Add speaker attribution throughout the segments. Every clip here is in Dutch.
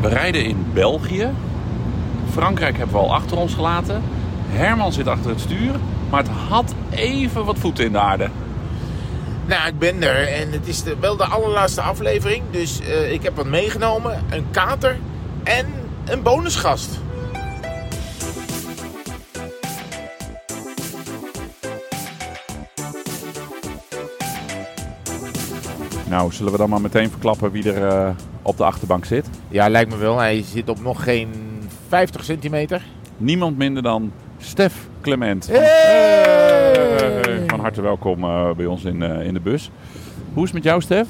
Speaker 1: We rijden in België. Frankrijk hebben we al achter ons gelaten. Herman zit achter het stuur. Maar het had even wat voeten in de aarde.
Speaker 2: Nou, ik ben er en het is de, wel de allerlaatste aflevering. Dus eh, ik heb wat meegenomen. Een kater en een bonusgast.
Speaker 1: Nou, zullen we dan maar meteen verklappen wie er eh, op de achterbank zit?
Speaker 2: Ja, lijkt me wel. Hij zit op nog geen 50 centimeter.
Speaker 1: Niemand minder dan Stef Clement.
Speaker 2: Hey!
Speaker 1: Van harte welkom eh, bij ons in, eh, in de bus. Hoe is het met jou, Stef?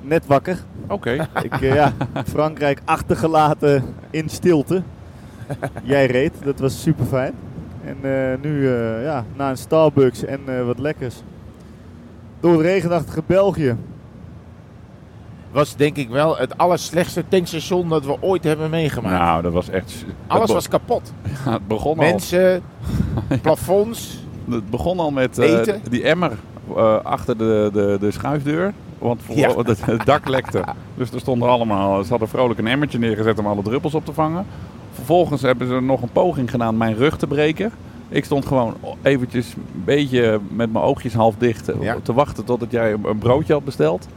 Speaker 3: Net wakker.
Speaker 1: Oké.
Speaker 3: Ik, eh, ja, Frankrijk achtergelaten in stilte. Jij reed, dat was super fijn. En eh, nu eh, ja, na een Starbucks en eh, wat lekkers. Door het regenachtige België.
Speaker 2: Was denk ik wel het allerslechtste tankstation dat we ooit hebben meegemaakt.
Speaker 1: Nou, dat was echt... het
Speaker 2: Alles
Speaker 1: be-
Speaker 2: was kapot.
Speaker 1: het begon al.
Speaker 2: Mensen, plafonds.
Speaker 1: Het begon al met eh,
Speaker 2: Eten?
Speaker 1: die emmer eh, achter de, de, de schuifdeur. Want voor,
Speaker 2: Ja.
Speaker 1: want het, het dak lekte. Dus er stonden allemaal, ze hadden vrolijk een emmertje neergezet om alle druppels op te vangen. Vervolgens hebben ze nog een poging gedaan mijn rug te breken. Ik stond gewoon eventjes een beetje met mijn oogjes half dicht eh,
Speaker 2: Ja.
Speaker 1: te wachten totdat jij een, een broodje had besteld.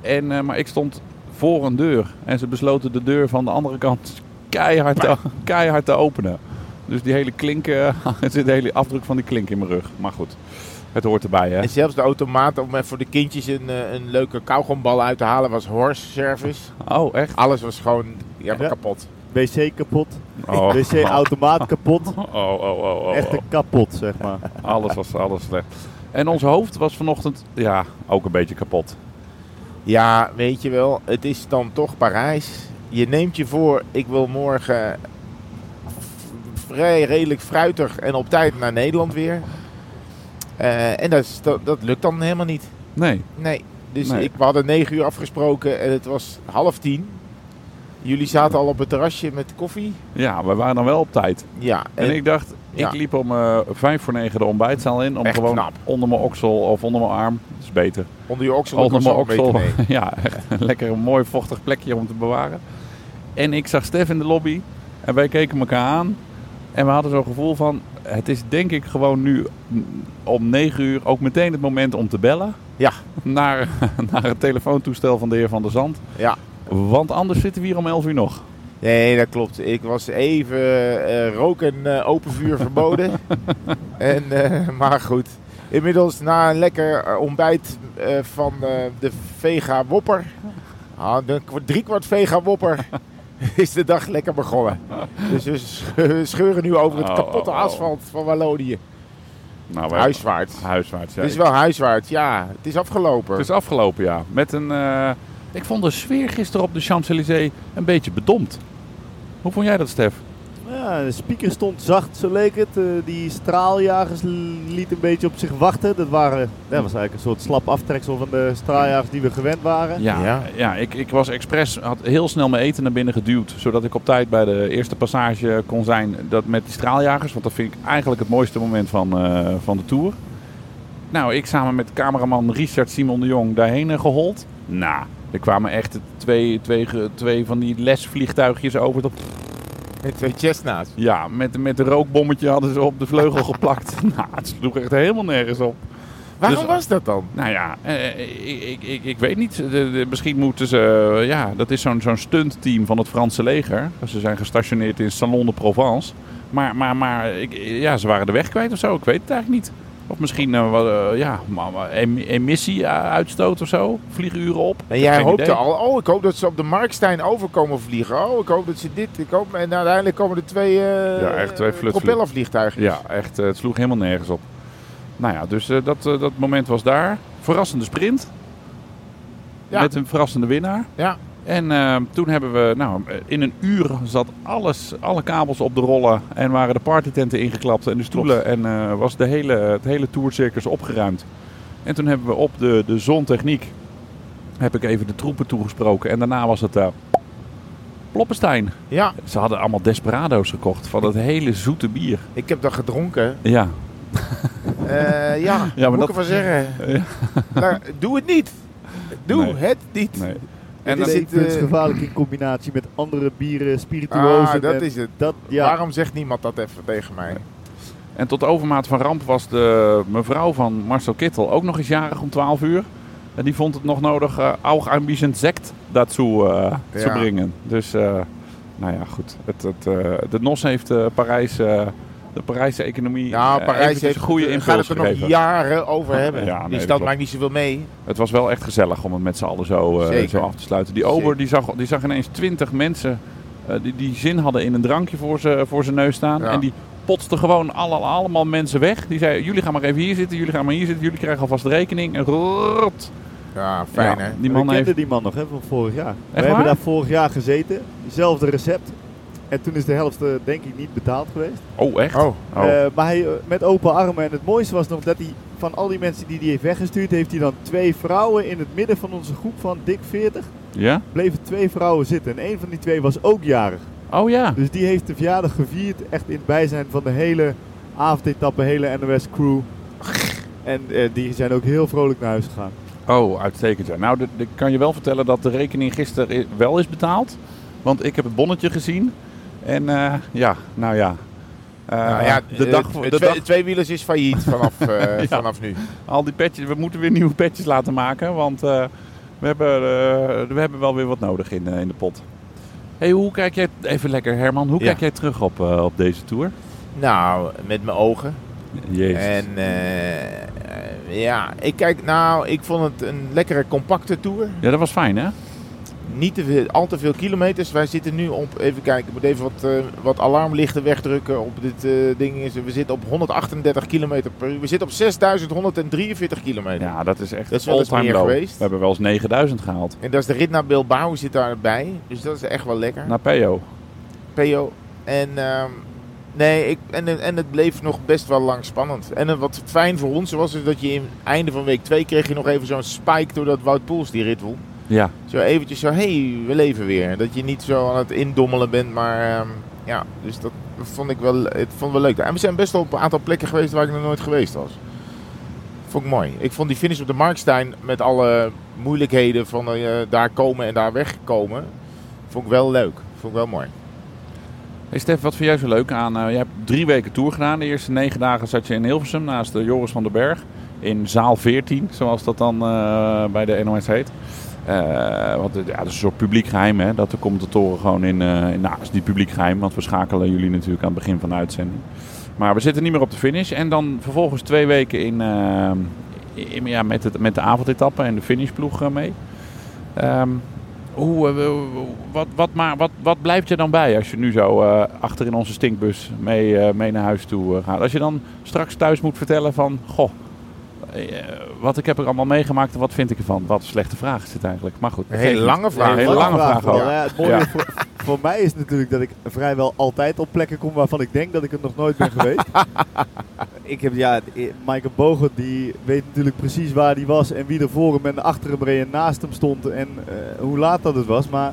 Speaker 1: En, eh, maar ik stond voor een deur. En ze besloten de deur van de andere kant keihard te, keihard te openen. Dus die hele klink, eh, er zit de hele afdruk van die klink in mijn rug. Maar goed, het hoort erbij hè.
Speaker 2: En zelfs de automaat om even voor de kindjes een, eh, een leuke kauwgombal uit te halen was horse service.
Speaker 1: Oh, echt?
Speaker 2: Alles was gewoon ja,
Speaker 3: Ja.
Speaker 2: kapot.
Speaker 3: WC kapot.
Speaker 1: Oh,
Speaker 3: WC-automaat kapot.
Speaker 1: oh, oh, oh, oh, oh.
Speaker 3: Echte kapot, zeg maar.
Speaker 1: Alles was alles slecht. En ons hoofd was vanochtend, ja, ook een beetje kapot.
Speaker 2: Ja, weet je wel, het is dan toch Parijs. Je neemt je voor, ik wil morgen v- vrij redelijk fruitig en op tijd naar Nederland weer. Eh, en dat, is- dat, dat lukt dan helemaal niet.
Speaker 1: Nee,
Speaker 2: Nee, dus
Speaker 1: Nee.
Speaker 2: Ik, we hadden negen uur afgesproken en het was half tien. Jullie zaten al op het terrasje met koffie.
Speaker 1: ja, we waren dan wel op tijd.
Speaker 2: Ja,
Speaker 1: En ik dacht,
Speaker 2: ja.
Speaker 1: ik liep om eh, vijf voor negen de ontbijtzaal in. Om
Speaker 2: Echt
Speaker 1: gewoon
Speaker 2: knap.
Speaker 1: onder mijn oksel of onder mijn arm, dat is beter.
Speaker 2: onder je oksel
Speaker 1: Onder
Speaker 2: was
Speaker 1: mijn
Speaker 2: al een beetje
Speaker 1: oksel.
Speaker 2: mee.
Speaker 1: Ja, echt een lekker een mooi vochtig plekje om te bewaren. En ik zag Stef in de lobby en wij keken elkaar aan. En we hadden zo'n gevoel van, het is denk ik gewoon nu mm, om negen uur ook meteen het moment om te bellen.
Speaker 2: Ja.
Speaker 1: Naar, naar het telefoontoestel van de heer Van der Zand.
Speaker 2: Ja.
Speaker 1: Want anders zitten we hier om elf uur nog.
Speaker 2: Nee, dat klopt. Ik was even eh, rook en eh, open vuur verboden. en, eh, maar goed. Inmiddels na een lekker eh, ontbijt eh, van eh, de Vega Wopper. Ah, de kwa- driekwart Vega Wopper. Is de dag lekker begonnen. Dus we sch- scheuren nu over het
Speaker 1: Oh,
Speaker 2: kapotte
Speaker 1: oh, oh.
Speaker 2: asfalt van Wallonië.
Speaker 1: Nou, wij-
Speaker 2: Huiswaarts.
Speaker 1: Huiswaarts, ja.
Speaker 2: Het is wel huiswaarts, ja. Het is afgelopen.
Speaker 1: Het is dus afgelopen, ja. Met een, eh, ik vond de sfeer gisteren op de Champs-Élysées een beetje bedompt. Hoe vond jij dat, Stef?
Speaker 3: Ja, de speaker stond zacht, zo leek het. Eh, die straaljagers l- lieten een beetje op zich wachten. Dat, waren, dat was eigenlijk een soort slap aftreksel van de straaljagers die we gewend waren.
Speaker 1: Ja, ja.
Speaker 2: Ja.
Speaker 1: ik, ik was expres, had heel snel mijn eten naar binnen geduwd. Zodat ik op tijd bij de eerste passage kon zijn dat met die straaljagers. Want dat vind ik eigenlijk het mooiste moment van, eh, van de tour. Nou, ik samen met cameraman Richard Simon de Jong daarheen eh, gehold. Nou, er kwamen echt twee, twee, ge- twee van die lesvliegtuigjes over. Dat,
Speaker 2: Met twee chestnuts.
Speaker 1: ja, met, met een rookbommetje hadden ze op de vleugel geplakt. nou, het sloeg echt helemaal nergens op.
Speaker 2: Waarom
Speaker 1: Dus-
Speaker 2: was dat dan?
Speaker 1: Nou ja, eh, ik, ik, ik, ik weet niet. De- de- misschien moeten ze. eh, ja, dat is zo'n zo'n stuntteam van het Franse leger. Ze zijn gestationeerd in Salon de Provence. Maar, maar, maar ik, ja, ze waren de weg kwijt of zo. Ik weet het eigenlijk niet. Of misschien eh, wat, eh, ja, maar- maar em- emissie eh, uitstoot of zo. Vlieguren op.
Speaker 2: En jij
Speaker 1: Geen
Speaker 2: hoopte
Speaker 1: idee.
Speaker 2: al, oh, ik hoop dat ze op de Markstein overkomen vliegen. Oh, ik hoop dat ze dit. Ik hoop, en uiteindelijk komen er twee, eh
Speaker 1: Ja, echt twee
Speaker 2: eh,
Speaker 1: flutvlieg-
Speaker 2: propellervliegtuigen.
Speaker 1: Ja, echt. eh, het sloeg helemaal nergens op. Nou ja, dus eh, dat, eh, dat moment was daar. Verrassende sprint.
Speaker 2: Ja.
Speaker 1: Met een verrassende winnaar.
Speaker 2: Ja.
Speaker 1: En eh, toen hebben we, nou, in een uur zat alles, alle kabels op de rollen en waren de partytenten ingeklapt en de stoelen en eh, was de hele, het hele tourcircus opgeruimd. En toen hebben we op de, de zontechniek, heb ik even de troepen toegesproken en daarna was het eh, Ploppenstein.
Speaker 2: Ja,
Speaker 1: Ze hadden allemaal Desperado's gekocht van dat hele zoete bier.
Speaker 2: ik heb dat gedronken.
Speaker 1: Ja,
Speaker 2: Eh, ja,
Speaker 1: Ja, maar
Speaker 2: moet
Speaker 1: dat-
Speaker 2: ik ervan zeggen.
Speaker 1: Ja.
Speaker 2: Nou, doe het niet. Doe
Speaker 1: Nee.
Speaker 2: het niet.
Speaker 1: nee. En
Speaker 2: is
Speaker 1: dan-
Speaker 2: het,
Speaker 3: levensgevaarlijk eh, in combinatie met andere bieren, spirituozen.
Speaker 2: Ah, dat
Speaker 3: en
Speaker 2: is het.
Speaker 3: dat, ja,
Speaker 2: Waarom zegt niemand dat even tegen mij?
Speaker 1: En tot overmaat van ramp was de mevrouw van Marcel Kittel ook nog eens jarig om 12 uur. En die vond het nog nodig eh auch ein bisschen sekt daartoe eh te
Speaker 2: Ja.
Speaker 1: brengen. Dus, eh, nou ja, goed. Het, het, eh, de NOS heeft eh, Parijs, eh, de Parijse economie
Speaker 2: Ja,
Speaker 1: eh,
Speaker 2: Nou, Parijs
Speaker 1: eventjes
Speaker 2: heeft
Speaker 1: een goede
Speaker 2: daar
Speaker 1: impuls
Speaker 2: gaat het er
Speaker 1: gegeven.
Speaker 2: nog jaren over hebben.
Speaker 1: Ja, nee,
Speaker 2: die
Speaker 1: dat
Speaker 2: stad
Speaker 1: klopt.
Speaker 2: maakt niet zoveel mee.
Speaker 1: Het was wel echt gezellig om het met z'n allen zo, eh,
Speaker 2: Zeker.
Speaker 1: zo af te sluiten. Die ober
Speaker 2: Zeker.
Speaker 1: die zag, die zag ineens twintig mensen eh, die, die zin hadden in een drankje voor zijn voor zijn neus staan.
Speaker 2: Ja.
Speaker 1: En die potste gewoon alle, allemaal mensen weg. Die zei, jullie gaan maar even hier zitten, jullie gaan maar hier zitten. Jullie krijgen alvast de rekening. En rot.
Speaker 2: Ja, fijn
Speaker 1: Ja,
Speaker 2: hè.
Speaker 1: Die
Speaker 3: we
Speaker 1: man
Speaker 3: kenden
Speaker 1: heeft...
Speaker 3: die man nog hè, van vorig jaar. We
Speaker 1: waar?
Speaker 3: hebben daar vorig jaar gezeten, hetzelfde recept. En toen is de helft eh, denk ik niet betaald geweest.
Speaker 1: Oh, echt?
Speaker 2: Oh,
Speaker 1: Oh.
Speaker 3: Eh, maar hij eh, met open armen. En het mooiste was nog dat hij van al die mensen die hij heeft weggestuurd, heeft hij dan twee vrouwen in het midden van onze groep van dik 40.
Speaker 1: ja?
Speaker 3: Bleven twee vrouwen zitten. En een van die twee was ook jarig.
Speaker 1: Oh ja.
Speaker 3: Dus die heeft de verjaardag gevierd. Echt in het bijzijn van de hele avondetappe, hele NOS crew. En eh, die zijn ook heel vrolijk naar huis gegaan.
Speaker 1: Oh, uitstekend. Ja. Nou, ik kan je wel vertellen dat de rekening gisteren i- wel is betaald. Want ik heb het bonnetje gezien. En eh, ja, nou ja. Eh,
Speaker 2: nou ja,
Speaker 1: de dag,
Speaker 2: eh,
Speaker 1: de
Speaker 2: twee,
Speaker 1: dag
Speaker 2: Tweewielers is failliet vanaf, eh,
Speaker 1: Ja.
Speaker 2: vanaf nu.
Speaker 1: Al die petjes, we moeten weer nieuwe petjes laten maken, want eh, we, hebben, eh, we hebben wel weer wat nodig in, eh, in de pot. Hey, hoe kijk jij, even lekker Herman, hoe
Speaker 2: Ja.
Speaker 1: kijk jij terug op, eh, op deze tour?
Speaker 2: Nou, met mijn ogen.
Speaker 1: Jezus.
Speaker 2: En eh, eh, ja, ik kijk, nou, ik vond het een lekkere compacte tour.
Speaker 1: Ja, dat was fijn hè?
Speaker 2: Niet te veel, al te veel kilometers. Wij zitten nu op, even kijken, ik moet even wat, eh, wat alarmlichten wegdrukken op dit eh, ding. Is- We zitten op 138 kilometer per uur. We zitten op 6143 kilometer.
Speaker 1: Ja, dat is echt
Speaker 2: Dat is wel eens
Speaker 1: all-time
Speaker 2: meer
Speaker 1: low.
Speaker 2: geweest.
Speaker 1: We hebben wel eens 9000 gehaald.
Speaker 2: En dat is de rit naar Bilbao zit daarbij. Dus dat is echt wel lekker.
Speaker 1: Naar Peo.
Speaker 2: PO. En, ehm, nee, ik, en, en het bleef nog best wel lang spannend. En eh, wat fijn voor ons was, is dat je in einde van week 2 kreeg je nog even zo'n spike doordat Wout Poels die rit won.
Speaker 1: Ja.
Speaker 2: Zo eventjes zo, hey, we leven weer. Dat je niet zo aan het indommelen bent, maar ehm, ja, dus dat vond ik wel, het vond ik wel leuk. En we zijn best wel op een aantal plekken geweest waar ik nog nooit geweest was. Vond ik mooi. Ik vond die finish op de Markstein met alle moeilijkheden van eh, daar komen en daar wegkomen, vond ik wel leuk. Vond ik wel mooi.
Speaker 1: Hey Stef, wat vind jij zo leuk aan? eh, je hebt drie weken tour gedaan. De eerste negen dagen zat je in Hilversum naast eh, Joris van den Berg. In zaal 14, zoals dat dan eh, bij de NOS heet. Eh, want eh, ja, dat is een soort publiek geheim, hè? Dat de commentatoren gewoon in... eh, in- nou, is niet publiek geheim, want we schakelen jullie natuurlijk aan het begin van de uitzending. Maar we zitten niet meer op de finish. En dan vervolgens twee weken in, eh, in- ja, met, het, met de avondetappe en de finishploeg eh, mee. Ehm, hoe, eh, hoe- wat, wat, maar, wat, wat blijft je dan bij als je nu zo eh, achter in onze stinkbus mee, eh, mee naar huis toe eh, gaat? Als je dan straks thuis moet vertellen van, goh, eh, wat ik heb er allemaal meegemaakt en wat vind ik ervan? Wat een slechte vraag is dit eigenlijk. Maar goed.
Speaker 2: Een hele
Speaker 1: geeft niet.
Speaker 2: lange vraag.
Speaker 1: Een hele
Speaker 3: Wat
Speaker 1: lange
Speaker 3: een
Speaker 1: vraag
Speaker 3: vooral.
Speaker 1: ook.
Speaker 3: Ja, het mooie
Speaker 1: Ja.
Speaker 3: voor, voor mij is natuurlijk dat ik vrijwel altijd op plekken kom waarvan ik denk dat ik er nog nooit ben geweest. ik heb, ja, eh, Michael Bogen die weet natuurlijk precies waar hij was en wie er voor hem en achter hem reed en naast hem stond en eh, hoe laat dat het was. Maar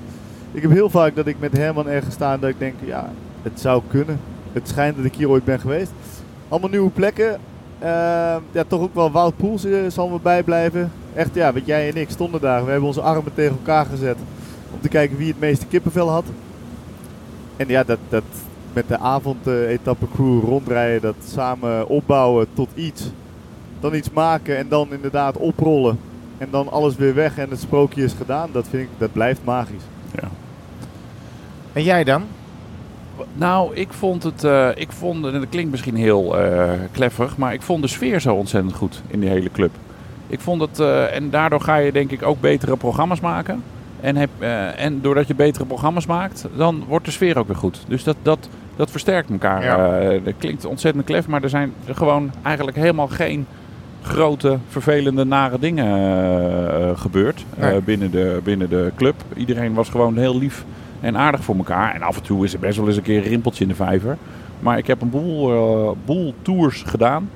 Speaker 3: ik heb heel vaak dat ik met Herman ergens sta en dat ik denk, ja, het zou kunnen. Het schijnt dat ik hier ooit ben geweest. Allemaal nieuwe plekken. Eh, ja, toch ook wel Wout Poels eh, zal me bijblijven. Echt, ja, want jij en ik stonden daar. We hebben onze armen tegen elkaar gezet om te kijken wie het meeste kippenvel had. En ja, dat, dat met de avondetappe crew rondrijden, dat samen opbouwen tot iets. Dan iets maken en dan inderdaad oprollen. En dan alles weer weg en het sprookje is gedaan. Dat, vind ik, dat blijft magisch.
Speaker 2: En jij dan?
Speaker 1: Nou, ik vond het, eh, ik vond, en dat klinkt misschien heel eh kleffig, maar ik vond de sfeer zo ontzettend goed in die hele club. Ik vond het, eh, en daardoor ga je denk ik ook betere programma's maken. En, heb, eh, en doordat je betere programma's maakt, dan wordt de sfeer ook weer goed. Dus dat, dat, dat versterkt elkaar.
Speaker 2: Ja.
Speaker 1: Eh, dat klinkt ontzettend klef, maar er zijn gewoon eigenlijk helemaal geen grote, vervelende, nare dingen eh, gebeurd eh,
Speaker 2: Nee.
Speaker 1: binnen, de, binnen de club. Iedereen was gewoon heel lief en aardig voor elkaar. En af en toe is er best wel eens een keer een rimpeltje in de vijver. Maar ik heb een boel, eh, boel tours gedaan.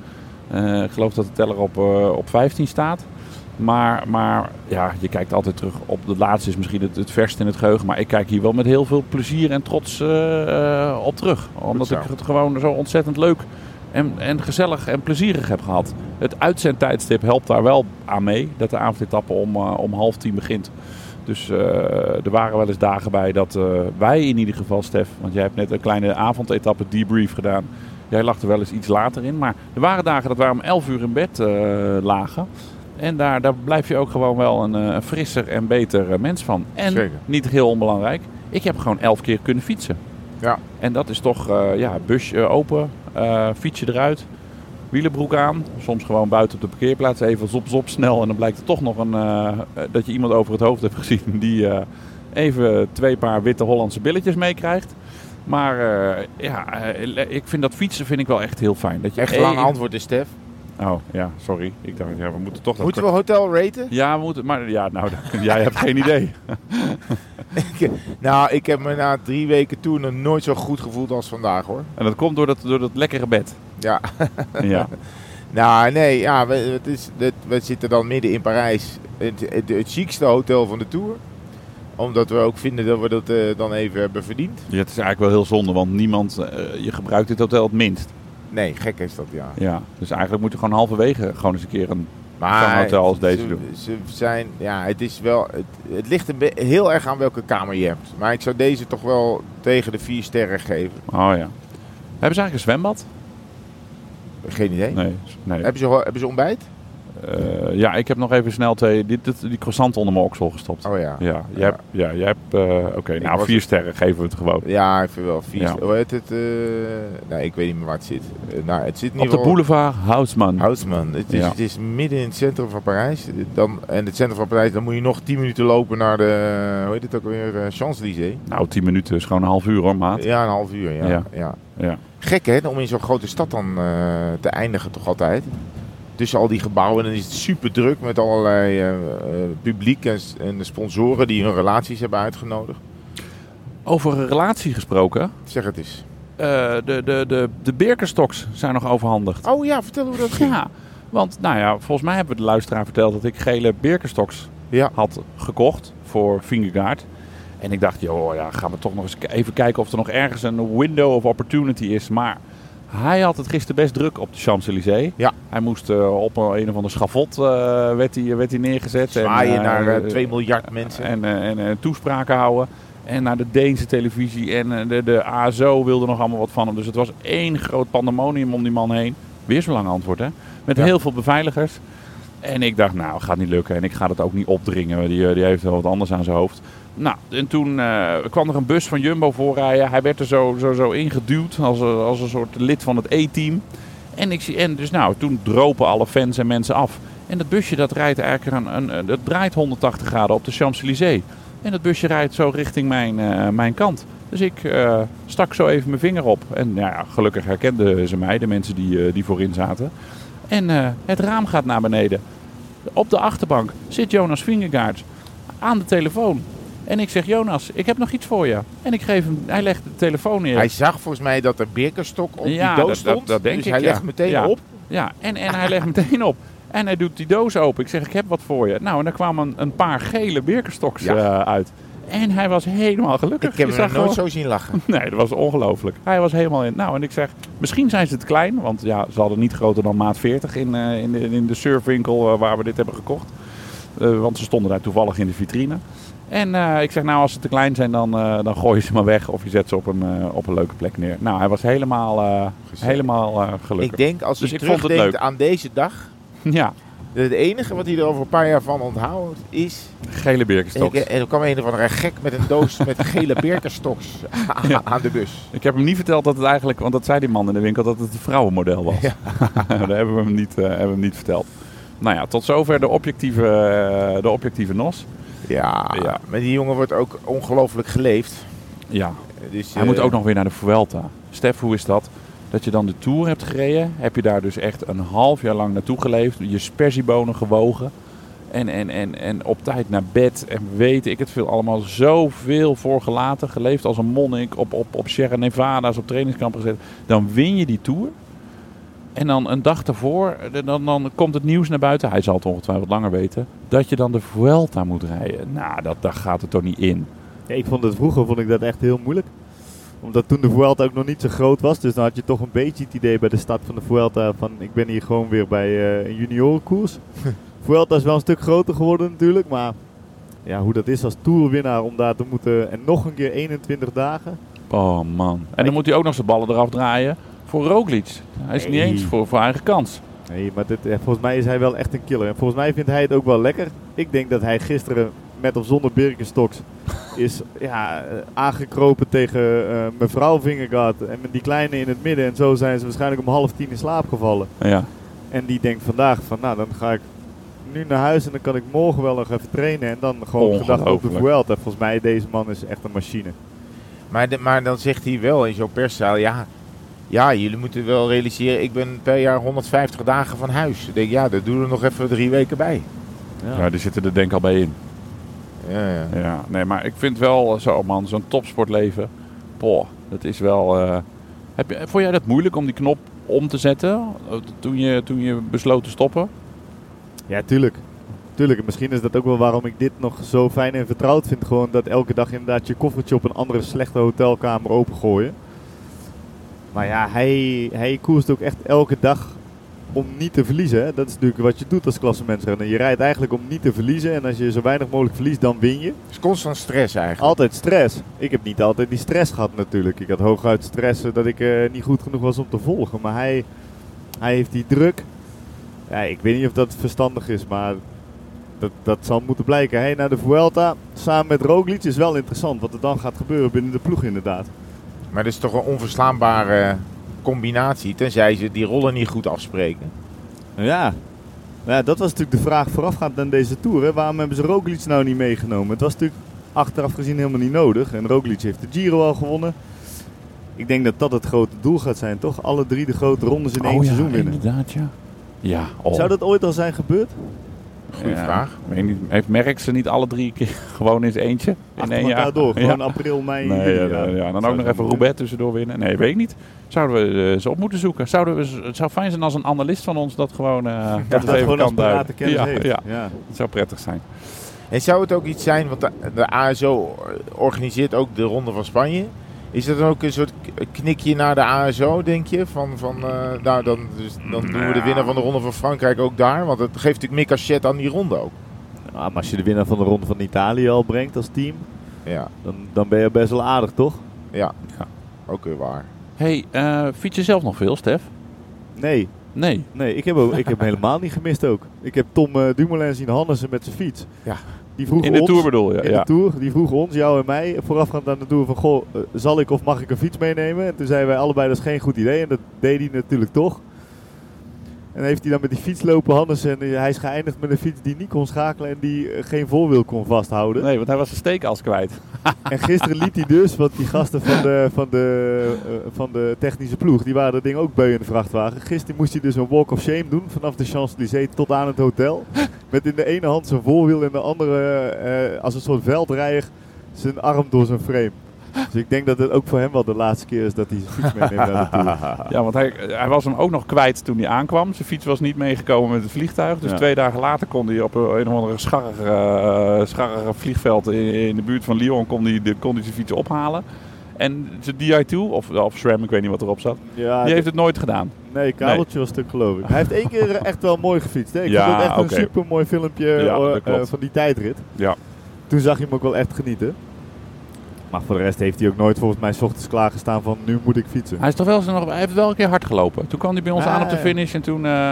Speaker 1: Eh, ik geloof dat de teller op, eh, op 15 staat. Maar, maar ja, je kijkt altijd terug op de laatste is misschien het, het verst in het geheugen. Maar ik kijk hier wel met heel veel plezier en trots eh, eh, op terug. Omdat
Speaker 2: zo.
Speaker 1: ik het gewoon zo ontzettend leuk en, en gezellig en plezierig heb gehad. Het uitzendtijdstip helpt daar wel aan mee. Dat de avondetappe om, eh, om half tien begint. Dus eh, er waren wel eens dagen bij dat eh, wij in ieder geval, Stef, want jij hebt net een kleine avondetappe debrief gedaan. Jij lag er wel eens iets later in. Maar er waren dagen dat wij om 11 uur in bed eh, lagen. En daar, daar blijf je ook gewoon wel een, eh, een frisser en beter eh, mens van. En
Speaker 2: Zeker.
Speaker 1: niet heel onbelangrijk, ik heb gewoon 11 keer kunnen fietsen.
Speaker 2: Ja.
Speaker 1: En dat is toch, eh, ja, busje open, eh fietsje eruit, wielenbroek aan. Soms gewoon buiten op de parkeerplaats even zop zop snel. En dan blijkt er toch nog een, eh, eh, dat je iemand over het hoofd hebt gezien die eh, even twee paar witte Hollandse billetjes meekrijgt. Maar eh, ja, eh, le- ik vind dat fietsen vind ik wel echt heel fijn. Dat je
Speaker 2: Echt
Speaker 1: één-
Speaker 2: lang antwoord is, Stef.
Speaker 1: Oh ja, sorry. Ik dacht, ja, we moeten toch dat
Speaker 2: Moeten we hotel raten?
Speaker 1: Ja, we moeten. Maar ja, nou, dan- jij hebt geen idee.
Speaker 2: Nou, ik heb me na drie weken toen nog nooit zo goed gevoeld als vandaag, hoor.
Speaker 1: En dat komt door dat, door dat lekkere bed.
Speaker 2: Ja.
Speaker 1: Ja,
Speaker 2: Nou, nee, ja, we, het is, het, we zitten dan midden in Parijs. Het, het, het chicste hotel van de Tour. Omdat we ook vinden dat we dat eh, dan even hebben verdiend.
Speaker 1: Ja, het is eigenlijk wel heel zonde, want niemand, eh, je gebruikt dit hotel het minst.
Speaker 2: Nee, gek is dat, ja.
Speaker 1: Ja, dus eigenlijk moeten we gewoon halverwege gewoon eens een keer een...
Speaker 2: Maar
Speaker 1: Zo'n hotel als deze
Speaker 2: ze,
Speaker 1: doen.
Speaker 2: ze zijn, ja, het is wel, het, het ligt een be- heel erg aan welke kamer je hebt. Maar ik zou deze toch wel tegen de vier sterren geven.
Speaker 1: Oh ja. Hebben ze eigenlijk een zwembad?
Speaker 2: Geen idee.
Speaker 1: Nee. nee.
Speaker 2: Hebben, ze, ho- hebben ze ontbijt?
Speaker 1: Eh, ja, ik heb nog even snel twee, die, dit- die croissant onder mijn oksel gestopt.
Speaker 2: Oh ja.
Speaker 1: Ja, jij
Speaker 2: Ja.
Speaker 1: hebt... Ja, jij hebt eh, Oké, nou,
Speaker 2: was-
Speaker 1: vier sterren geven we het gewoon.
Speaker 2: Ja, ik vind wel vier
Speaker 1: Ja.
Speaker 2: sterren. Hoe heet het? eh, nou, ik weet niet meer waar het zit. Eh, nou, het zit in
Speaker 1: Op
Speaker 2: ieder
Speaker 1: de
Speaker 2: geval-
Speaker 1: boulevard Houseman.
Speaker 2: Houtsman. Het is,
Speaker 1: Ja.
Speaker 2: het is midden in het centrum van Parijs. Dan, en het centrum van Parijs, dan moet je nog 10 minuten lopen naar de, hoe heet het ook weer, eh, Champs-Élysées.
Speaker 1: Nou, tien minuten is gewoon een half uur hoor, maat.
Speaker 2: Ja, een half uur. Ja.
Speaker 1: Ja.
Speaker 2: Ja.
Speaker 1: Ja.
Speaker 2: Gek hè, om in zo'n grote stad dan eh, te eindigen toch altijd. Tussen al die gebouwen, dan is het super druk met allerlei eh, eh, publiek en, s- en de sponsoren die hun relaties hebben uitgenodigd.
Speaker 1: Over een relatie gesproken.
Speaker 2: Zeg het eens.
Speaker 1: eh, de, de, de, de Birkenstocks zijn nog overhandigd.
Speaker 2: Oh ja, vertel hoe dat ging.
Speaker 1: Ja, want nou ja, volgens mij hebben we de luisteraar verteld dat ik gele Birkenstocks
Speaker 2: Ja.
Speaker 1: had gekocht voor Fingergaard. En ik dacht, joh, ja, gaan we toch nog eens k- even kijken of er nog ergens een window of opportunity is. Maar hij had het gisteren best druk op de Champs-Élysées.
Speaker 2: Ja.
Speaker 1: Hij moest eh, op een, een of ander schavot, eh, werd, hij, werd hij neergezet.
Speaker 2: Zwaaien
Speaker 1: eh,
Speaker 2: naar eh,
Speaker 1: eh,
Speaker 2: 2 miljard mensen.
Speaker 1: en, eh, en, eh, toespraken houden. En naar de Deense televisie. En eh, de, de ASO wilde nog allemaal wat van hem. Dus het was één groot pandemonium om die man heen. Weer zo'n lang antwoord, hè? Met
Speaker 2: Ja.
Speaker 1: heel veel beveiligers. En ik dacht, nou, gaat niet lukken. En ik ga dat ook niet opdringen. Die, eh, die heeft wel wat anders aan zijn hoofd. Nou, en toen eh, kwam er een bus van Jumbo voorrijden. Hij werd er zo, zo, zo ingeduwd als, een- als een soort lid van het E-team. En, ik zie, en dus nou, toen dropen alle fans en mensen af. En dat busje dat rijdt eigenlijk een, een, een- dat draait 180 graden op de Champs-Élysées. En dat busje rijdt zo richting mijn, eh, mijn kant. Dus ik eh, stak zo even mijn vinger op. En nou ja, gelukkig herkenden ze mij, de mensen die, eh, die voorin zaten. En eh, het raam gaat naar beneden. Op de achterbank zit Jonas Vingegaard aan de telefoon. En ik zeg, Jonas, ik heb nog iets voor je. En ik geef hem, hij legt de telefoon neer.
Speaker 2: Hij zag volgens mij dat er Birkenstock op
Speaker 1: eh, Ja,
Speaker 2: die doos
Speaker 1: dat- dat-
Speaker 2: stond.
Speaker 1: dat denk
Speaker 2: dus
Speaker 1: ik,
Speaker 2: hij
Speaker 1: ja.
Speaker 2: legt meteen
Speaker 1: Ja.
Speaker 2: op.
Speaker 1: Ja, en, en hij legt meteen op. En hij doet die doos open. Ik zeg, ik heb wat voor je. Nou, en daar kwamen een paar gele birkenstoks
Speaker 2: Ja.
Speaker 1: eh, uit. En hij was helemaal gelukkig.
Speaker 2: Ik heb
Speaker 1: Je
Speaker 2: hem nog
Speaker 1: zag
Speaker 2: nooit
Speaker 1: gewoon-
Speaker 2: zo zien lachen.
Speaker 1: Nee, dat was ongelooflijk. Hij was helemaal in. Nou, en ik zeg, misschien zijn ze te klein. Want ja, ze hadden niet groter dan maat 40 in, eh, in, de, in de surfwinkel eh, waar we dit hebben gekocht. Eh, want ze stonden daar toevallig in de vitrine. En eh, ik zeg, nou, als ze te klein zijn, dan, eh, dan gooi je ze maar weg. Of je zet ze op een, eh, op een leuke plek neer. Nou, hij was helemaal, eh,
Speaker 2: Gezellig.
Speaker 1: helemaal eh, gelukkig.
Speaker 2: Ik denk als
Speaker 1: Dus
Speaker 2: hij
Speaker 1: ik vond het
Speaker 2: terugdenkt
Speaker 1: leuk.
Speaker 2: aan deze dag.
Speaker 1: Ja,
Speaker 2: dat Het enige wat hij er over een paar jaar van onthoudt is.
Speaker 1: gele birkenstoks.
Speaker 2: Ik, eh, en er kwam een of andere gek met een doos met gele Birkenstocks a-
Speaker 1: Ja.
Speaker 2: aan de bus.
Speaker 1: Ik heb hem niet verteld dat het eigenlijk, want dat zei die man in de winkel, dat het een vrouwenmodel was.
Speaker 2: Ja.
Speaker 1: Daar hebben we hem niet, eh, hebben we hem niet verteld. Nou ja, tot zover de objectieve, eh, de objectieve NOS.
Speaker 2: Ja,
Speaker 1: Ja.
Speaker 2: maar die jongen wordt ook ongelooflijk geleefd.
Speaker 1: Ja,
Speaker 2: Dus,
Speaker 1: hij
Speaker 2: eh,
Speaker 1: moet ook nog weer naar de Vuelta. Stef, hoe is dat? Dat je dan de Tour hebt gereden, heb je daar dus echt een half jaar lang naartoe geleefd, je spersiebonen gewogen en, en, en, en op tijd naar bed en weet ik het veel, allemaal zoveel voor gelaten, geleefd als een monnik, op, op, op Sierra Nevada's, op trainingskamp gezet. Dan win je die Tour en dan een dag daarvoor, eh, dan, dan komt het nieuws naar buiten, hij zal het ongetwijfeld langer weten, dat je dan de Vuelta moet rijden. Nou, dat, daar gaat het toch niet in.
Speaker 3: Ja, ik vond het vroeger vond ik dat echt heel moeilijk. Omdat toen de Vuelta ook nog niet zo groot was. Dus dan had je toch een beetje het idee bij de start van de Vuelta van ik ben hier gewoon weer bij eh, een juniorenkoers. Vuelta is wel een stuk groter geworden natuurlijk. Maar ja, hoe dat is als toerwinnaar om daar te moeten. En nog een keer 21 dagen.
Speaker 1: Oh man. En dan moet hij ook nog zijn ballen eraf draaien voor Roglic. Hij is niet
Speaker 3: Nee.
Speaker 1: eens voor, voor eigen kans.
Speaker 3: Nee, maar dit, eh, volgens mij is hij wel echt een killer. En volgens mij vindt hij het ook wel lekker. Ik denk dat hij gisteren met of zonder Birkenstocks is ja, eh, aangekropen tegen eh mevrouw Vingergaard en met die kleine in het midden. En zo zijn ze waarschijnlijk om half tien in slaap gevallen.
Speaker 1: Ja.
Speaker 3: En die denkt vandaag van, nou dan ga ik nu naar huis en dan kan ik morgen wel nog even trainen. En dan gewoon gedacht op de
Speaker 1: Ongelooflijk.
Speaker 3: Vuelta. Volgens mij, deze man is echt een machine.
Speaker 2: Maar, de- maar dan zegt hij wel in zo'n perszaal, ja, ja, jullie moeten wel realiseren, ik ben per jaar 150 dagen van huis. Ik denk, ja, dat doen we nog even drie weken bij.
Speaker 1: ja, die zitten er denk ik al bij in.
Speaker 2: Ja, ja.
Speaker 1: Ja, nee, maar ik vind wel eh, zo, man, zo'n topsportleven. Poh, dat is wel. eh, heb je, vond jij dat moeilijk om die knop om te zetten eh, toen je, toen je besloot te stoppen?
Speaker 3: Ja, tuurlijk. Tuurlijk, en misschien is dat ook wel waarom ik dit nog zo fijn en vertrouwd vind. Gewoon dat elke dag inderdaad je koffertje op een andere slechte hotelkamer opengooien. Maar ja, hij, hij koerst ook echt elke dag om niet te verliezen. Hè? Dat is natuurlijk wat je doet als klassementsrenner. Je rijdt eigenlijk om niet te verliezen. En als je zo weinig mogelijk verliest, dan win je.
Speaker 2: Het is constant stress eigenlijk.
Speaker 3: Altijd stress. Ik heb niet altijd die stress gehad natuurlijk. Ik had hooguit stress eh, dat ik eh, niet goed genoeg was om te volgen. Maar hij, hij heeft die druk. Ja, ik weet niet of dat verstandig is, maar dat, dat zal moeten blijken. Hij naar de Vuelta samen met Roglic is wel interessant. Wat er dan gaat gebeuren binnen de ploeg inderdaad.
Speaker 2: Maar dat is toch een onverslaanbare combinatie, tenzij ze die rollen niet goed afspreken.
Speaker 3: Ja. ja, dat was natuurlijk de vraag voorafgaand aan deze Tour. Hè. Waarom hebben ze Roglic nou niet meegenomen? Het was natuurlijk achteraf gezien helemaal niet nodig. En Roglic heeft de Giro al gewonnen. Ik denk dat dat het grote doel gaat zijn, toch? Alle drie de grote rondes in één
Speaker 1: Oh ja,
Speaker 3: seizoen winnen.
Speaker 1: Inderdaad, ja. Ja, oh.
Speaker 3: Zou dat ooit al zijn gebeurd?
Speaker 2: Goeie
Speaker 1: Ja,
Speaker 2: vraag.
Speaker 1: Weet niet, heeft Merck ze niet alle drie keer gewoon in zijn eentje? In
Speaker 3: Achter
Speaker 1: één
Speaker 3: elkaar
Speaker 1: jaar
Speaker 3: door.
Speaker 1: Ja.
Speaker 3: Gewoon april, mei,
Speaker 1: Nee,
Speaker 3: juli.
Speaker 1: ja, ja, ja. Dan ook nog even Roubaix tussendoor winnen. Nee, weet ik niet. Zouden we eh, ze op moeten zoeken? Zouden we, ze- het zou fijn zijn als een analist van ons dat gewoon, eh dat
Speaker 3: Dat
Speaker 1: het
Speaker 3: dat
Speaker 1: even
Speaker 3: gewoon als
Speaker 1: kan
Speaker 3: paraten
Speaker 1: duiden.
Speaker 3: kennis
Speaker 1: ja,
Speaker 3: heeft.
Speaker 1: ja,
Speaker 3: Ja.
Speaker 1: het zou prettig zijn.
Speaker 2: En zou het ook iets zijn, want de, de ASO organiseert ook de Ronde van Spanje. Is dat dan ook een soort k- knikje naar de ASO, denk je? Van, van, eh, nou, dan, dus, dan doen we de winnaar van de Ronde van Frankrijk ook daar. Want dat geeft natuurlijk meer cachet aan die ronde ook.
Speaker 3: Ja, Nou, maar als je de winnaar van de Ronde van Italië al brengt als team,
Speaker 2: Ja,
Speaker 3: dan, dan ben je best wel aardig, toch?
Speaker 2: ja.
Speaker 1: Ja.
Speaker 2: Ook weer waar.
Speaker 1: hey, eh, fiets je zelf nog veel, Stef?
Speaker 3: Nee,
Speaker 1: Nee.
Speaker 3: nee ik, heb, ook- ik heb hem helemaal niet gemist ook. Ik heb Tom eh, Dumoulin zien Hannessen met zijn fiets.
Speaker 2: Ja.
Speaker 3: Die vroeg
Speaker 1: In de
Speaker 3: ons,
Speaker 1: Tour bedoel je?
Speaker 3: in
Speaker 1: ja.
Speaker 3: de Tour, die vroeg ons, jou en mij, voorafgaand aan de Tour van... Goh, eh, zal ik of mag ik een fiets meenemen? En toen zeiden wij allebei, dat is geen goed idee. En dat deed hij natuurlijk toch. En heeft hij dan met die fiets lopen, Hannes. En eh, hij is geëindigd met een fiets die niet kon schakelen en die eh, geen voorwiel kon vasthouden.
Speaker 1: Nee, want hij was zijn steekals kwijt.
Speaker 3: En gisteren liet hij dus, want die gasten van de, van de, eh, van de technische ploeg, die waren dat ding ook beu in de vrachtwagen. Gisteren moest hij dus een walk of shame doen, vanaf de Champs-Élysées tot aan het hotel. Met in de ene hand zijn voorwiel en de andere, eh, als een soort veldrijder, zijn arm door zijn frame. Dus ik denk dat het ook voor hem wel de laatste keer is dat hij zijn fiets meeneemt naar de Tour.
Speaker 1: Ja, want hij, hij was hem ook nog kwijt toen hij aankwam. Zijn fiets was niet meegekomen met het vliegtuig. Dus
Speaker 3: Ja.
Speaker 1: twee dagen later kon hij op een een of andere scharrig, eh, scharrig vliegveld in, in de buurt van Lyon kon hij, de, kon hij zijn fiets ophalen. En zijn DI2, of, of SRAM, ik weet niet wat erop zat,
Speaker 3: Ja,
Speaker 1: die heeft het nooit gedaan.
Speaker 3: nee, kabeltje was stuk geloof ik. Hij heeft één keer echt wel mooi gefietst. Hè? Ik
Speaker 1: Ja,
Speaker 3: vond het echt
Speaker 1: oké.
Speaker 3: een super mooi filmpje
Speaker 1: Ja,
Speaker 3: eh,
Speaker 1: dat klopt.
Speaker 3: eh, van die tijdrit.
Speaker 1: Ja.
Speaker 3: toen zag je hem ook wel echt genieten. Maar voor de rest heeft hij ook nooit volgens mij 's ochtends klaargestaan van nu moet ik fietsen.
Speaker 1: Hij, is toch wel, eens nog- hij heeft wel een keer hard gelopen. Toen kwam hij bij ons
Speaker 3: Ah,
Speaker 1: aan op de
Speaker 3: ja.
Speaker 1: finish en toen... eh, ah,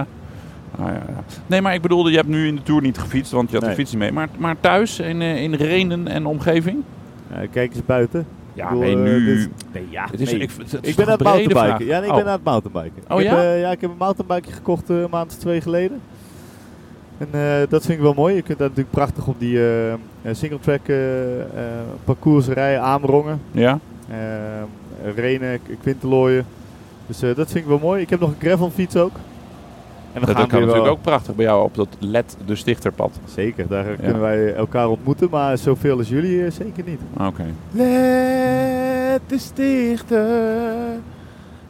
Speaker 1: ja, ja. Nee, maar ik bedoelde, je hebt nu in de Tour niet gefietst, want je had
Speaker 3: Nee.
Speaker 1: de fiets niet mee. Maar, maar thuis, in, eh, in Renen en omgeving?
Speaker 3: Ja, Eh, kijk eens buiten.
Speaker 1: Ja,
Speaker 3: Ik bedoel,
Speaker 1: nee,
Speaker 3: eh,
Speaker 1: nu...
Speaker 3: dit is-
Speaker 2: Nee, ja.
Speaker 1: Het is,
Speaker 3: Nee.
Speaker 1: ik, het is toch
Speaker 3: Ik ben aan
Speaker 1: een
Speaker 3: het
Speaker 1: brede
Speaker 3: mountainbiken.
Speaker 1: vraag.
Speaker 3: Ja, nee, ik
Speaker 1: Oh.
Speaker 3: ben aan het mountainbiken.
Speaker 1: Oh,
Speaker 3: ik
Speaker 1: ja?
Speaker 3: Heb, eh, ja, ik heb een mountainbike gekocht eh, een maand of twee geleden. En eh, dat vind ik wel mooi. Je kunt daar natuurlijk prachtig op die eh, eh, singletrack eh, eh, parcours rijden, aanrongen.
Speaker 1: Ja?
Speaker 3: Ehm, Renen, K- Kwintelooien. Dus eh, dat vind ik wel mooi. Ik heb nog een gravelfiets ook. En we
Speaker 1: Dat,
Speaker 3: gaan
Speaker 1: kan
Speaker 3: weer wel-
Speaker 1: natuurlijk ook prachtig bij jou op dat E LED de stichterpad.
Speaker 3: Zeker, daar kunnen wij elkaar ontmoeten, maar zoveel als jullie eh, zeker niet.
Speaker 1: Oké.
Speaker 2: Let de stichter.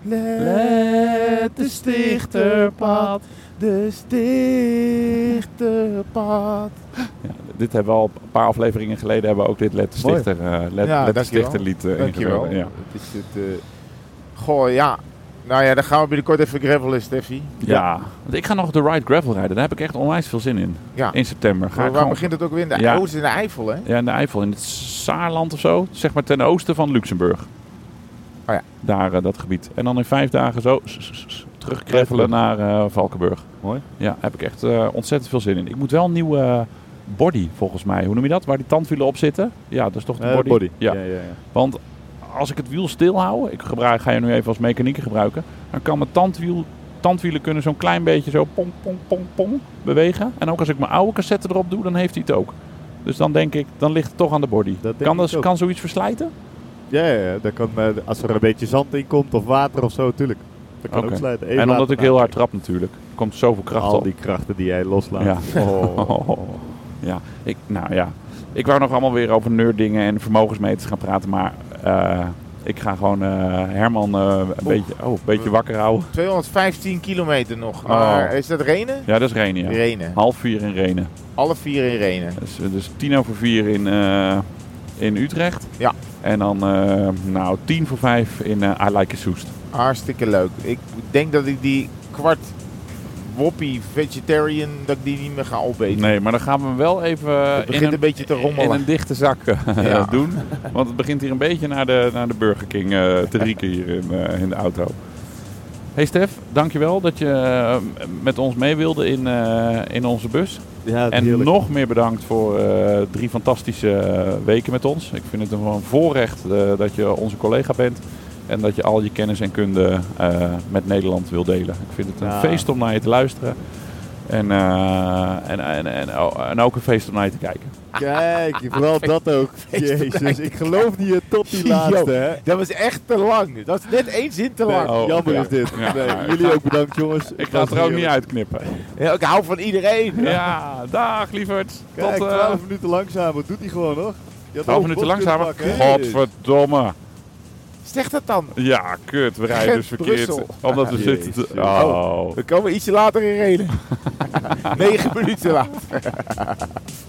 Speaker 3: E
Speaker 2: Let de stichterpad. De stichterpad.
Speaker 1: Ja, dit hebben we al een paar afleveringen geleden hebben we ook dit LED de
Speaker 3: Mooi.
Speaker 1: stichter, eh, LED,
Speaker 2: Ja,
Speaker 1: LED de
Speaker 2: dankjewel.
Speaker 1: stichterlied eh,
Speaker 2: Dankjewel.
Speaker 1: ingevuld. Ja.
Speaker 2: Het is het, eh, goh, ja. Nou ja, dan gaan we binnenkort even gravelen, Steffi.
Speaker 1: Ja. Want ik ga nog de Ride Gravel rijden. Daar heb ik echt onwijs veel zin in.
Speaker 2: Ja.
Speaker 1: In september. Ga
Speaker 2: Waar
Speaker 1: ik gewoon
Speaker 2: begint het ook weer? In de,
Speaker 1: Ja.
Speaker 2: oh, het is in de Eifel, hè?
Speaker 1: Ja, in de Eifel, in het Saarland of zo. Zeg maar ten oosten van Luxemburg.
Speaker 2: ja.
Speaker 1: Daar, eh, dat gebied. En dan in vijf dagen zo s- s- s- terugkreffelen naar eh, Valkenburg.
Speaker 3: Mooi.
Speaker 1: Ja, heb ik echt eh, ontzettend veel zin in. Ik moet wel een nieuwe eh, body, volgens mij. Hoe noem je dat? Waar die tandwielen op zitten. Ja, dat is toch de
Speaker 3: Eh,
Speaker 1: body? Ja.
Speaker 3: Ja, ja, ja.
Speaker 1: Want als ik het wiel stil hou, ik gebruik, ga je nu even als mechanieker gebruiken, dan kan mijn tandwiel, tandwielen kunnen zo'n klein beetje zo pong, pong, pong, pong bewegen. En ook als ik mijn oude cassette erop doe, dan heeft hij het ook. Dus dan denk ik, dan ligt het toch aan de body.
Speaker 3: denk
Speaker 1: Kan,
Speaker 3: ik
Speaker 1: dat,
Speaker 3: ook.
Speaker 1: kan zoiets verslijten?
Speaker 3: Ja, ja, ja. Dat kan, eh, als er een beetje zand in komt of water of zo, tuurlijk. Dat kan
Speaker 1: Oké.
Speaker 3: ook slijten. Eén
Speaker 1: En omdat
Speaker 3: water-
Speaker 1: ik heel hard trap natuurlijk, komt zoveel kracht
Speaker 3: Al
Speaker 1: op.
Speaker 3: die krachten die jij loslaat.
Speaker 1: Ja.
Speaker 3: Oh.
Speaker 1: Oh, ja. Ik, nou ja, ik wou nog allemaal weer over nerddingen en vermogensmeters gaan praten, maar eh, ik ga gewoon eh, Herman eh, een, beetje, oh, een beetje wakker houden.
Speaker 2: 215 kilometer nog.
Speaker 1: Oh.
Speaker 2: Maar is dat Renen?
Speaker 1: Ja, dat is Renen. ja.
Speaker 2: Renen.
Speaker 1: Half vier in Renen.
Speaker 2: Alle vier in Renen.
Speaker 1: Dus, dus tien over vier in, eh, in Utrecht.
Speaker 2: Ja.
Speaker 1: En dan eh, nou, tien voor vijf in eh I Like It Soest.
Speaker 2: Hartstikke leuk. Ik denk dat ik die kwart woppie vegetarian, dat ik die niet meer ga opeten.
Speaker 1: Nee, maar dan gaan we wel even eh,
Speaker 2: Het begint
Speaker 1: in, een,
Speaker 2: een beetje te rommelen.
Speaker 1: in een dichte zak eh,
Speaker 2: Ja.
Speaker 1: doen. Want het begint hier een beetje naar de, naar de Burger King eh, te rieken hier in, eh, in de auto. Hey Stef, dankjewel dat je eh, met ons mee wilde in, eh, in onze bus.
Speaker 3: Ja,
Speaker 1: En
Speaker 3: heerlijk.
Speaker 1: nog meer bedankt voor eh, drie fantastische eh, weken met ons. Ik vind het een gewoon voorrecht eh, dat je onze collega bent. En dat je al je kennis en kunde eh, met Nederland wil delen. Ik vind het een
Speaker 3: Ja.
Speaker 1: feest om naar je te luisteren. En, eh, en, en, en, oh, en ook een feest om naar je te kijken.
Speaker 3: Kijk, vooral dat ook. Jezus, ik geloof niet eh, tot die laatste, hè.
Speaker 2: Dat was echt te lang. Dat is net één zin te lang.
Speaker 1: Nee. Oh,
Speaker 3: Jammer
Speaker 1: ja.
Speaker 3: is dit.
Speaker 1: Ja.
Speaker 3: Nee, jullie ook bedankt, jongens.
Speaker 1: Ik ga het er ook niet uitknippen.
Speaker 2: Ja, ik hou van iedereen.
Speaker 1: Ja, dag lieverd.
Speaker 3: Kijk,
Speaker 1: Tot eh,
Speaker 3: 12 minuten langzamer. Doet hij gewoon, hoor. Je had ook
Speaker 1: twaalf
Speaker 3: een
Speaker 1: minuten
Speaker 3: bot kunnen
Speaker 1: langzamer.
Speaker 3: pakken, hè?
Speaker 1: Godverdomme.
Speaker 2: Zeg dat dan.
Speaker 1: Ja, kut. We rijden dus verkeerd.
Speaker 2: Brussel.
Speaker 1: Omdat we
Speaker 3: Jezus.
Speaker 1: zitten... te- Oh.
Speaker 2: We komen ietsje later in Renen. Negen minuten later.